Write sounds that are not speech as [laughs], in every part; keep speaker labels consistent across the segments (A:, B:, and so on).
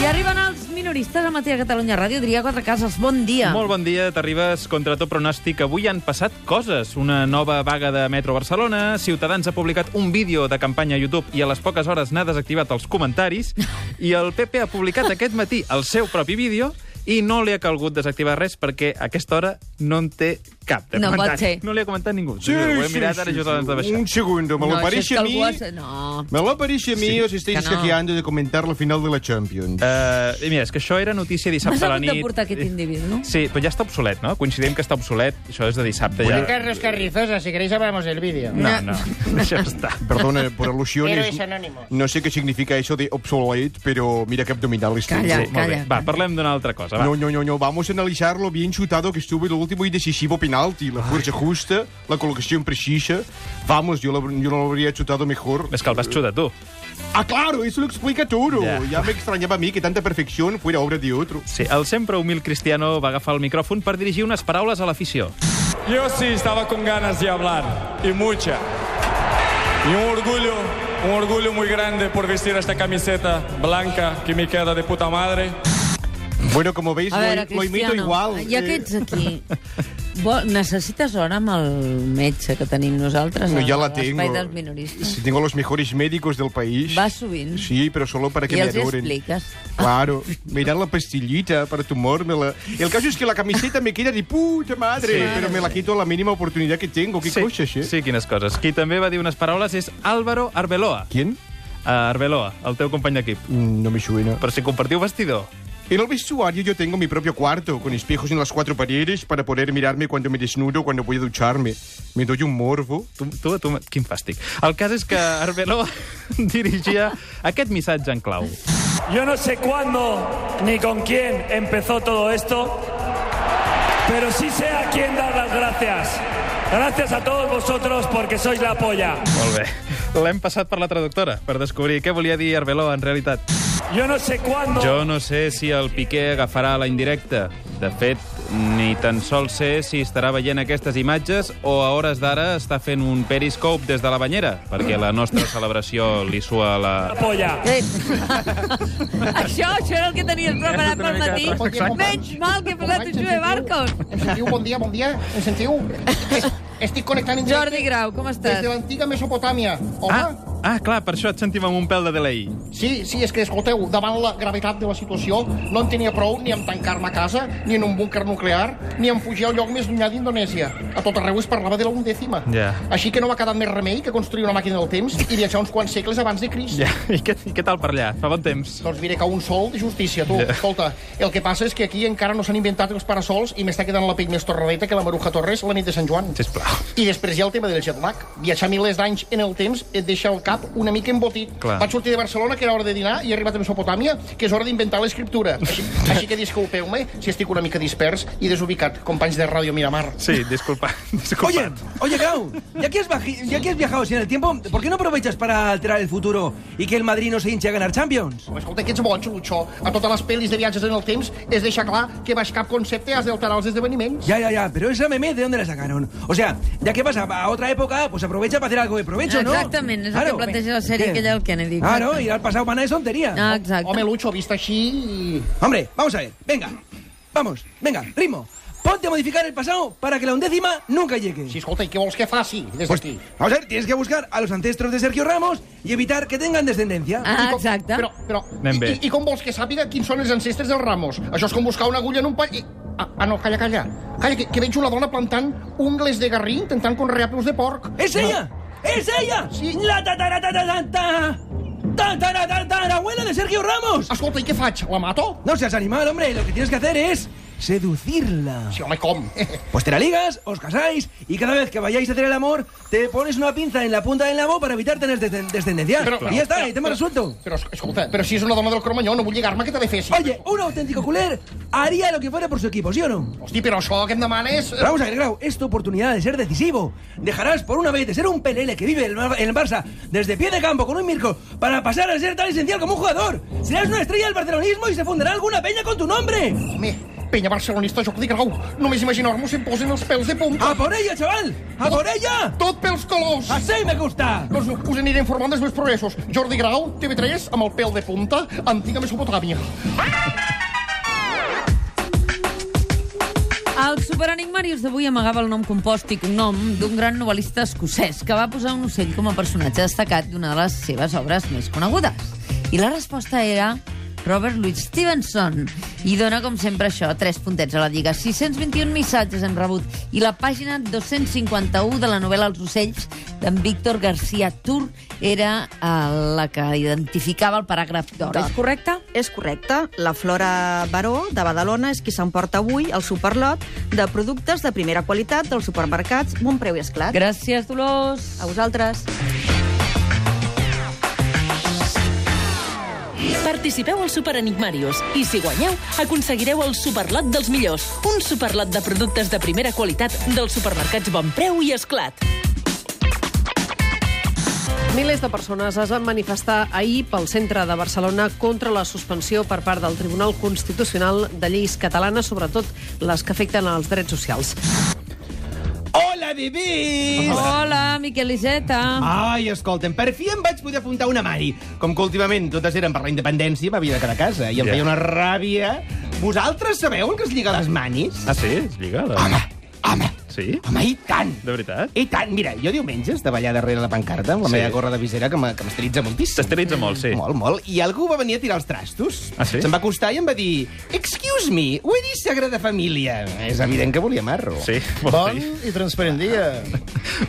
A: Ja arriben els minoristes a matí a Catalunya Ràdio. Diria quatre cases. Bon dia.
B: Molt bon dia, t'arribes contra tot pronòstic. Avui han passat coses. Una nova vaga de Metro Barcelona, Ciutadans ha publicat un vídeo de campanya a YouTube i a les poques hores n'ha desactivat els comentaris, i el PP ha publicat aquest matí el seu propi vídeo i no li ha calgut desactivar res perquè a aquesta hora no en té cap de
A: No pot
B: comentari.
A: ser.
B: No li ha comentat ningú. ho he mirat ara just abans de baixar.
C: Un segundo, me
A: no, això
C: lo
A: és
C: parece
A: que
C: a
A: algú
C: mí...
A: ha- No.
C: Me lo parece a mí, os estáis
A: que no.
C: hackeando de comentar la final de la Champions.
B: Uh, mira, és que això era notícia
A: M'has
B: dissabte a la
A: hagut
B: nit.
A: de portar aquest individu.
B: Sí, però ja està obsolet, no? Coincidim que està obsolet. Això és de dissabte ja.
D: Juan Carlos Carrizosa, si queréis hablamos del vídeo.
B: No, no, [laughs] deixa'm estar.
C: Perdona eh,
B: [laughs]
C: por alusiones.
D: Héroes anónimos.
C: No sé qué significa eso de obsolete, pero mira qué abdominales tens.
A: Calla.
B: Molt bé. Va, parlem d'una altra cosa. Va.
C: No, no, no, no, vamos a analizar lo bien chutado que estuvo el último y decisivo penalti, la fuerza justa, la colocación precisa. Vamos, yo lo, yo lo habría chutado mejor.
B: És que el vas xutar tu.
C: Ah, claro, eso lo explica todo.
B: Ya.
C: Ya me extrañaba a mí que tanta perfección fuera obra de otro.
B: Sí, el sempre humil Cristiano va agafar el micròfon per dirigir unes paraules a l'afició.
E: Yo sí estaba con ganas de hablar, y mucha. Y un orgullo, un orgullo muy grande por vestir esta camiseta blanca que me queda de puta madre.
C: Bueno, como veis,
A: A
C: lo,
A: veure,
C: lo imito
A: Cristiano,
C: igual.
A: ja
C: Eh,
A: que ets
C: [laughs]
A: aquí... Vol, necessites hora amb el metge que tenim nosaltres?
C: No,
A: a
C: ya la eh,
A: l'espai
C: tengo.
A: dels minoristes.
C: Sí, tengo los mejores médicos del país.
A: Vas sovint.
C: Sí, pero solo para que
A: I
C: me
A: els hi
C: adoren.
A: expliques.
C: Claro, me dan la pastillita para tomármela. El caso es que la camiseta me queda de puta madre,
B: Sí.
C: pero me la quito a la mínima oportunidad que tengo. Qué cosas, ¿eh?
B: sí, quines coses. Qui també va dir unes paraules és Álvaro Arbeloa.
C: ¿Quién?
B: Uh, Arbeloa, el teu company d'equip.
C: Mm, No me suena.
B: Però si compartiu vestidor.
C: En el vestuario yo tengo mi propio cuarto, con espejos en las cuatro paredes para poder mirarme cuando me desnudo, cuando voy a ducharme. Me doy un morbo.
B: Tu, tu, tu, quin fàstic. El cas és que Arbeloa [laughs] dirigia aquest missatge en clau.
F: Yo no sé cuándo ni con quién empezó todo esto, pero sí sé a quién dar las gracias. Gracias a todos vosotros porque sois la polla.
B: Molt bé. L'hem passat per la traductora per descobrir què volia dir Arbeloa en realitat.
F: Yo no sé cuándo.
B: Jo no sé si el Piqué agafarà la indirecta. De fet, ni tan sols sé si estarà veient aquestes imatges o a hores d'ara està fent un periscope des de la banyera, perquè la nostra celebració li sua
F: La
B: la...
F: polla.
C: [laughs]
A: Eh. això, això era el que tenies preparat pel matí.
D: Exacte.
A: Menys mal que he posat
D: Em
A: Jove
D: sentiu?
A: Barcos.
D: Em sentiu? Bon dia, bon dia. Em sentiu? Es- Estic connectant en directe
A: Jordi Grau, com
D: des de
A: estàs?
D: l'antiga Mesopotàmia. Home,
B: Ah, ah, clar, per això et sentim amb un pèl de delay.
D: sí, sí, és que, escolteu, davant la gravetat de la situació, no en tenia prou ni amb tancar-me a casa, ni en un búnquer nuclear, ni en fugir al lloc més llunyà d'Indonèsia. A tot arreu es parlava de la undècima.
B: Ja.
D: Així que no m'ha quedat més remei que construir una màquina del temps i viatjar uns quants segles abans de Crist.
B: Ja, i què, i què tal per allà? Fa bon temps.
D: Doncs mira, cau un sol de justícia, tu.
B: Ja.
D: Escolta, el que passa és que aquí encara no s'han inventat els parasols i m'està quedant la pell més torradeta que la Maruja Torres la nit de Sant Joan.
B: Sisplau.
D: I després hi ha el tema del jet lag. Viatjar milers d'anys en el temps et deixa el cap una mica embotit.
B: Clar.
D: Vaig sortir de Barcelona, que era hora de dinar, i he arribat a Mesopotàmia, que és hora
B: [laughs]
D: d'inventar l'escriptura. Així, així que disculpeu-me si estic una mica dispers i desubicat, companys de Ràdio Miramar.
B: Sí, [laughs] disculpa.
G: Oye,
B: disculpa.
G: oye, Grau, ya que, has baji- ya que has viajado sin el tiempo, ¿por qué no aprovechas para alterar el futuro y que el Madrid no se hinche a ganar Champions?
D: Escolta, que ets boig, Lutxó. A totes les pel·lis de viatges en el temps és deixar clar que baix cap concepte has d'alterar els esdeveniments.
G: Ya, ya, ya, pero esa meme, ¿de dónde la sacaron? O sea, ya que pasa a otra época, pues aprovecha para hacer algo de provecho, ¿no?
A: Exactamente, es lo que plantea la serie
G: ¿Qué?
A: aquella del Kennedy.
G: Claro, ir al pasado para nada es tontería.
A: Ah,
D: Home,
A: exacte.
D: Lucho, vist així...
G: Hombre, vamos a ver, venga, vamos, venga, ritmo. Ponte a modificar el pasado para que la undécima nunca llegue.
D: Sí, escolta, i què vols que faci des
G: Pues,
D: d'aquí?
G: vamos a ver, tienes que buscar a los ancestros de Sergio Ramos y evitar que tengan descendencia.
A: Ah,
D: I com-
A: exacte.
D: Però, però,
B: Anem
D: i,
B: bé.
D: i, i com vols que sàpiga quins són els ancestres dels Ramos? Això és com buscar una agulla en un pall... I... Ah, ah, no, calla, calla. Calla, que, que veig una dona plantant ungles de garrí intentant conrear peus de porc.
G: ¡Es ella! ¡Es ella!
D: Sí.
G: ¡La tataratatata! ¡Tataratatarabuela de Sergio Ramos!
D: Escolta, i què faig? La mato?
G: No seas animal, hombre. Lo que tienes que hacer es seducirla.
D: Sí, home, com? [laughs]
G: Pues te la ligas, os casáis y cada vez que vayáis a hacer el amor, te pones una pinza en la punta del nabo para evitar tener descen- descendencia. y ya está,
D: però-
G: el tema
D: però-
G: resuelto.
D: Però, es- escolta, però si és una dona del Cromanyó, no vull lligar-me que te defessi.
G: Oye, un auténtico culer haría lo que fuera por su equipo, ¿sí o no?
D: Hosti, però això que em demanes... eh,
G: Pero vamos a ver, Grau, es tu oportunidad de ser decisivo. Dejarás por una vez de ser un PLL que vive en el Mar- en el Barça desde pie de campo con un Mirko para pasar a ser tan esencial como un jugador. Serás una estrella del barcelonismo y se fundará alguna peña con tu nombre.
D: Home, Penya barcelonista Jordi Grau. Només imaginar-nos em posen els pèls de punta.
A: Ah!
G: ¡A por ella, chaval! ¡A por ella!
D: Tot pels colors.
G: ¡Así me gusta!
D: Doncs us aniré informant dels meus progressos. Jordi Grau, TV3, amb el pèl de punta, antiga Mesopotàmia.
A: El Superenigmarius d'avui amagava el nom compost i cognom d'un gran novel·lista escocès que va posar un ocell com a personatge destacat d'una de les seves obres més conegudes. I la resposta era Robert Louis Stevenson. I dona, com sempre, això, 3 puntets a la lliga. 621 missatges hem rebut i la pàgina 251 de la novel·la Els ocells d'en Víctor García Tur era eh, la que identificava el paràgraf d'or. És correcte?
H: És correcte. La Flora Baró, de Badalona, és qui s'emporta avui el superlot de productes de primera qualitat dels supermercats Montpreu i Esclat.
A: Gràcies, Dolors.
H: A vosaltres.
I: Participeu al Superenigmàrius i, si guanyeu, aconseguireu el superlot dels millors, un superlot de productes de primera qualitat dels supermercats Bon Preu i Esclat.
J: Milers de persones es van manifestar ahir pel centre de Barcelona contra la suspensió per part del Tribunal Constitucional de lleis catalanes, sobretot les que afecten els drets socials.
G: Hola, bebès!
A: Hola, Miquel Iceta.
G: Ai, escolta'm, per fi em vaig poder apuntar una mari. Com que últimament totes eren per la independència, m'havia de quedar a casa i em
B: Ja.
G: feia una ràbia. Vosaltres sabeu el que es lliga a les manis?
B: Ah, sí? És lligada.
G: Home, home,
B: Sí?
G: home, i tant!
B: De veritat?
G: I tant, mira, jo diumenge es davallà darrere la pancarta amb la
B: Sí.
G: meva gorra de visera que m'e- que m'estilitza moltíssim.
B: S'esterilitza molt, sí.
G: Molt, molt. I algú va venir a tirar els trastos.
B: Ah, sí?
G: Se'm va acostar i em va dir Excuse me, where is Sagrada Família? És evident que volia marro.
B: Sí, bon, dia.
D: i transparent dia.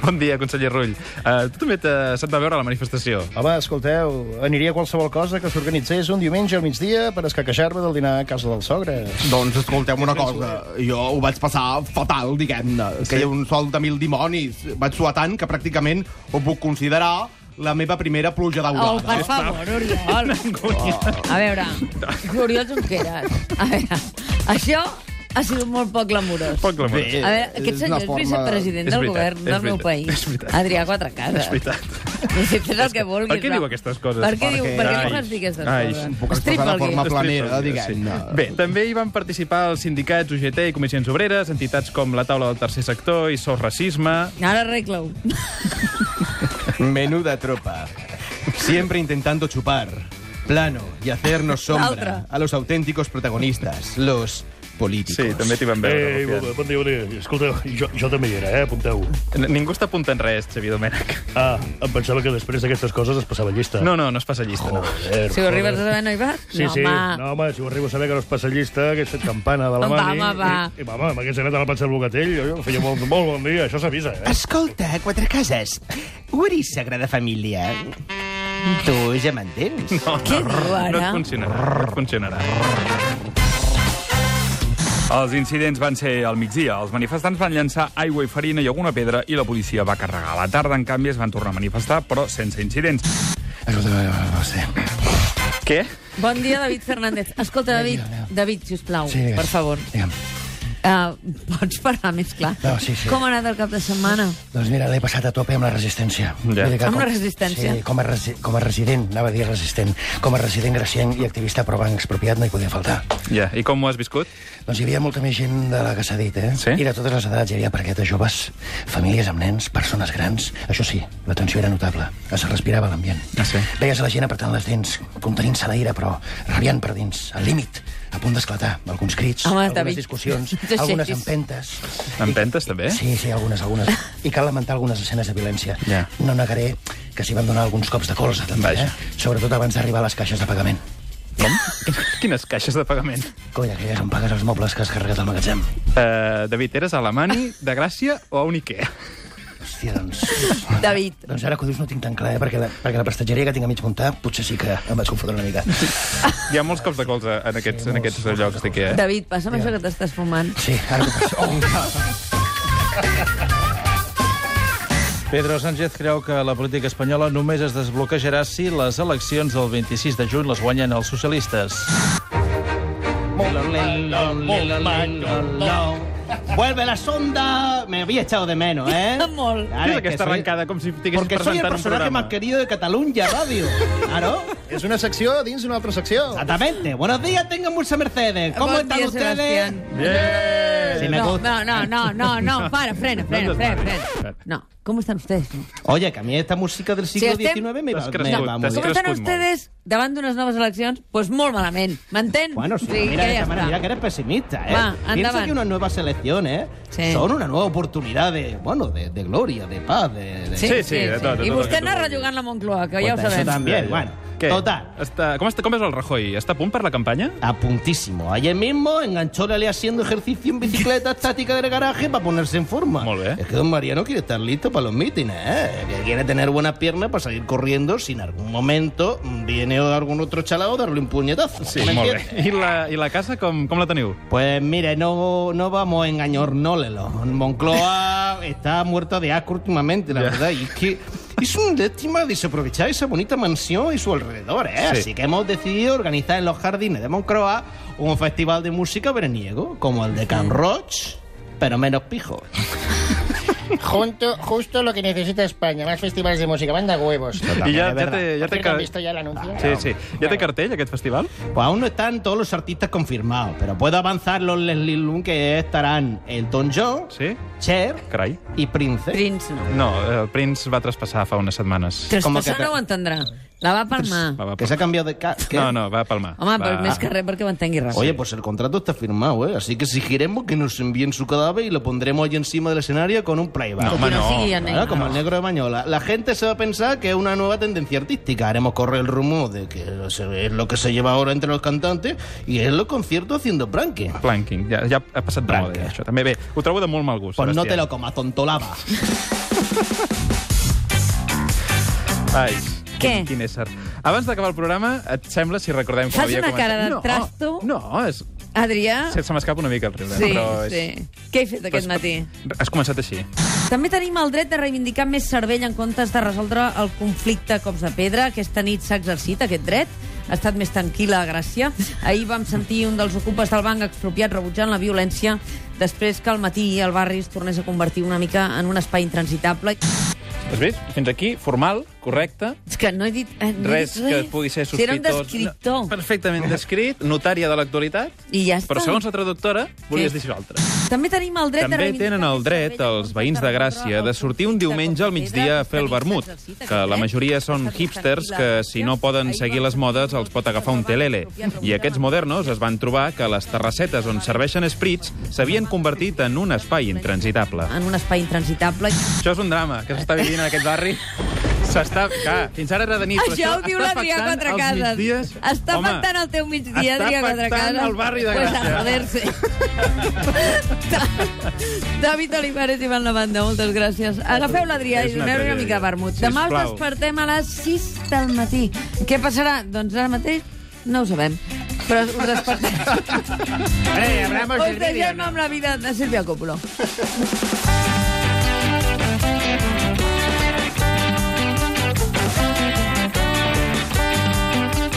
B: Bon dia, conseller Rull. Uh, tu també te- se't va veure a la manifestació.
D: Home, escolteu, aniria qualsevol cosa que s'organitzés un diumenge al migdia per escaquejar-me del dinar a casa del sogre.
C: Doncs escolteu una cosa, jo ho vaig passar fatal, diguem-ne, que hi ha un sol de mil dimonis. Vaig suar tant que pràcticament ho puc considerar la meva primera pluja
A: Oh,
C: daurada.
A: per favor,
B: [laughs]
A: Oriol. A veure, Oriol Junqueras. A veure, això ha sigut molt poc glamurós.
B: Poc glamurós.
A: A veure, aquest
C: eh, és una
A: senyor és
C: forma-
A: vicepresident
B: És
A: del
B: veritat,
A: govern
B: és
A: del meu
B: veritat, és
A: país.
B: veritat.
A: Adrià Quatrecases.
B: És veritat.
A: I si fes el que vulguis.
B: Per què
A: va.
B: diu aquestes coses?
A: Per què
B: Perquè-
A: diu? Per què
B: Ai,
A: no fas dir aquestes
B: ai,
A: coses?
B: em
C: puc expressar de
A: Estripa'l,
C: forma
A: Gui.
C: pla- planera,
B: Sí.
C: diguem-ne.
B: Bé, també hi van participar els sindicats UGT i comissions obreres, entitats com la taula del tercer sector i Sos Racisme.
A: Ara arregla-ho.
G: Menuda tropa.
C: Siempre intentando chupar plano y hacernos
A: La
C: sombra
A: otra.
C: a los auténticos protagonistas, los políticos.
B: Sí, també t'hi van veure.
K: Ei,
B: Rufián.
K: bon, bon dia, bon dia. Escolteu, jo, jo també hi era, eh? Apunteu.
B: N- Ningú està apuntant res, Xavier Domènech.
K: Ah, em pensava que després d'aquestes coses es passava llista.
B: No, no, no es passa llista, no.
K: Joder,
A: Si ho arribes a
K: joder.
A: saber, no hi vas?
K: Sí,
A: no,
K: sí.
A: home.
K: No, home, si ho arribo a saber que no es passa llista, que he fet campana de la
A: Va,
K: mani...
A: home, va.
K: I, i home, m'hagués anat a la panxa del bocatell, jo, jo feia molt, molt bon dia, això s'avisa, eh?
G: Escolta, quatre cases. Where is Sagrada Família? Tu ja m'entens?
B: No,
A: Què
B: no,
A: diu ara?
B: No et funcionarà, no et funcionarà.
L: Els incidents van ser al migdia. Els manifestants van llançar aigua i farina i alguna pedra i la policia va carregar. A la tarda, en canvi, es van tornar a manifestar, però sense incidents.
B: Què?
A: Bon dia, David Fernández. Escolta, David, David, sisplau,
K: digues.
A: per favor.
K: Digue'm.
A: Uh, pots parlar més clar?
K: No, sí, sí.
A: Com ha anat el cap de setmana?
K: Doncs mira, l'he passat a tope amb la resistència.
B: Ja.
K: Vull dir que
A: Amb la resistència?
K: Sí, com a, resi com a resident, anava a dir resistent, com a resident gracienc i activista pro banc expropiat no hi podia faltar.
B: Ja, i com ho has viscut?
K: Doncs hi havia molta més gent de la que s'ha dit, eh?
B: Sí?
K: I de totes les edats hi havia paquetes joves, famílies amb nens, persones grans. Això sí, la tensió era notable. Es respirava l'ambient.
B: Ah, sí?
K: Veies a la gent apretant les dents, contenint-se la ira, però rabiant per dins, al límit, a punt d'esclatar. Alguns crits,
A: Home,
K: algunes
A: David, [laughs]
K: discussions,
A: no t'aixequis.
K: algunes empentes.
B: Empentes, també?
K: Sí, sí, algunes, algunes. I cal lamentar algunes escenes de violència.
B: Ja.
K: No negaré que s'hi van donar alguns cops de colze, també,
B: Vaja.
K: eh? Sobretot abans d'arribar a les caixes de pagament.
B: Com? Quines caixes de pagament?
K: Coi, aquelles on pagues els mobles que has carregat al magatzem.
B: Uh, David, eres a la Mani, de Gràcia o a un Ikea?
K: Hòstia, doncs...
A: David,
K: Doncs ara que ho dius no ho tinc tan clar, eh? perquè, la, perquè la prestatgeria que tinc a mig muntar potser sí que em vaig confondre una mica.
B: Hi ha molts cops de colze en aquests, en aquests llocs d'Ikea. eh?
A: David, passa'm això que t'estàs fumant.
K: Sí, ara que passa.
L: Pedro Sánchez creu que la política espanyola només es desbloquejarà si les eleccions del 26 de juny les guanyen els socialistes.
G: Vuelve la sonda. Me había echado de menos, ¿eh?
A: Molt.
G: Claro,
B: Què és
G: es que
B: aquesta
G: soy-
B: arrencada, com si estiguessis
G: Porque soy el
B: presentant un
G: personaje más
B: programa?
G: querido de Cataluña Radio. Claro.
M: És una secció dins una altra secció.
D: Exactamente. Buenos días, tengan mucha Mercedes. ¿Cómo
A: Buen
D: están
A: día,
D: ustedes?
A: Sebastián.
D: Sí, me
A: no, no,
D: gusta.
A: no, no, no,
D: [laughs]
A: no, para, frena, frena, frena, frena. No, ¿cómo están ustedes? No.
D: Oye, que a mí esta música del siglo
A: estem-
D: XIX me va,
A: T'has
D: me va
A: No,
D: muy
A: com
D: bien.
A: estan ustedes davant d'unes noves eleccions? Pues molt malament, m'entén?
D: Bueno, sí,
A: que
D: mira, de
A: ja
D: esa manera,
A: està.
D: mira que eres pesimista, ¿eh?
A: Va,
D: Piensa
A: endavant.
D: que unas nuevas elecciones
A: Sí.
D: eh, son una nueva oportunidad de, bueno, de, de gloria, de paz, de... de-
A: I vostè anar rellogant la Moncloa, que ja ho
D: Pues eso
A: sabem.
D: también, bueno.
B: Què?
D: Total.
B: Està, com, està, com és el Rajoy? Està a punt per la campanya?
D: A puntísimo. Ayer mismo enganchó la Lea haciendo ejercicio en bicicleta estática del garaje para ponerse en forma. Es que don Mariano quiere estar listo para los mítines, ¿eh? Que quiere tener buenas piernas para salir corriendo si en algún momento mm, viene algún otro chalado a darle un puñetazo.
B: Sí, molt bé. I la, I la casa com, com la teniu?
D: Pues mire, no, no vamos a engañarnólelo.
M: [laughs]
D: Moncloa está muerta de asco últimamente, la verdad. Y es que es un lástima desaprovechar esa bonita mansión y su alrededor, ¿eh?
N: Sí.
D: Así que hemos decidido organizar en los jardines de Moncloa un festival de música veraniego, como el de Can Roch, pero menos pijo.
M: [laughs] Junto, justo lo que necesita España. Más festivales de música. Banda huevos.
B: I ja, ja té... Ja
M: Por
B: té
M: cierto, ¿Han
B: ca-
M: visto ya el anuncio?
B: Sí, sí. Ja té cartell, aquest festival?
D: Pues aún no están todos los artistas confirmados, pero puedo avanzar los Leslie Lun que estarán Elton John, Cher
B: Carai.
D: y Prince.
A: Prince no.
B: No, el Prince va traspassar fa unes setmanes.
A: Traspassar no ho entendrà. La va palmar.
D: Que s'ha canviat de cas.
B: No, no, va a palmar.
A: Home,
D: Va.
A: però més que res perquè ho entengui res.
D: Oye, pues el contrato está firmado, ¿eh? Así que exigiremos que nos envíen su cadáver y lo pondremos ahí encima del escenario con un playback.
A: No, Que home, no no. sigui en
D: Claro,
A: negro.
D: Como el negro de Bañola. La gente se va a pensar que es una nueva tendencia artística. Haremos correr el rumor de que se- es lo que se lleva ahora entre los cantantes y es los conciertos haciendo pranking.
B: Planking, ja, ja ha passat de moda, això. També bé, ho trobo de molt mal gust,
D: Pues no te
B: Sebastià.
D: lo comas, tontolaba.
B: Ai,
A: Què?
B: Quin, quin ésser. Abans d'acabar el programa, et sembla si recordem com
A: Fas
B: havia
A: una
B: començat?
A: cara de trasto.
B: No, no és...
A: Adrià,
B: Se, se m'escapa una mica el riure,
A: sí,
B: però... És...
A: sí. Què he fet aquest matí?
B: Has començat així.
A: També tenim el dret de reivindicar més cervell en comptes de resoldre el conflicte a cops de pedra. Aquesta nit s'ha exercit aquest dret. Ha estat més tranquil·la a Gràcia. Ahir vam sentir un dels ocupes del banc expropiat rebutjant la violència després que al matí el barri es tornés a convertir una mica en un espai intransitable.
B: Has vist? Doncs Fins aquí, formal, correcte.
A: És que no he dit eh, no he
B: Res
A: dit
B: que pugui ser
A: Si era un
B: sospitós.
A: descriptor.
B: Perfectament descrit, notària de l'actualitat.
A: I ja està.
B: Però segons la traductora, volies dir això altre.
A: També tenim el dret de
B: També
A: reivindicar...
B: tenen el dret els veïns de Gràcia de sortir un diumenge al migdia a fer el vermut, que la majoria són hipsters que, si no poden seguir les modes, els pot agafar un telele. I aquests modernos es van trobar que les terrassetes on serveixen esprits s'havien convertit en un espai intransitable.
A: En un espai intransitable.
B: Això és un drama que s'està vivint en aquest barri. S'està... Clar, fins ara era de nit. però
A: Això ho diu
B: està
A: l'Adrià
B: afectant
A: Quatre
B: els
A: Cases.
B: migdies.
A: Està
B: Home,
A: afectant el teu migdia,
B: està
A: Adrià Quatre
B: afectant
A: Cases.
B: el barri de
A: pues
B: Gràcia.
A: a joder-se. [laughs] David Olivares i Van Lavanda, moltes gràcies. Agafeu l'Adrià i
O: És una
A: doneu-li una
O: tragèdia.
A: mica de vermut. Demà us
O: Sisplau.
A: despertem a les 6 del matí. Què passarà? Doncs ara mateix no ho sabem. Però us despertem.
O: Eh, hablamos del
A: [laughs] Us
O: vídeo,
A: deixem amb la vida de Sílvia Coppola.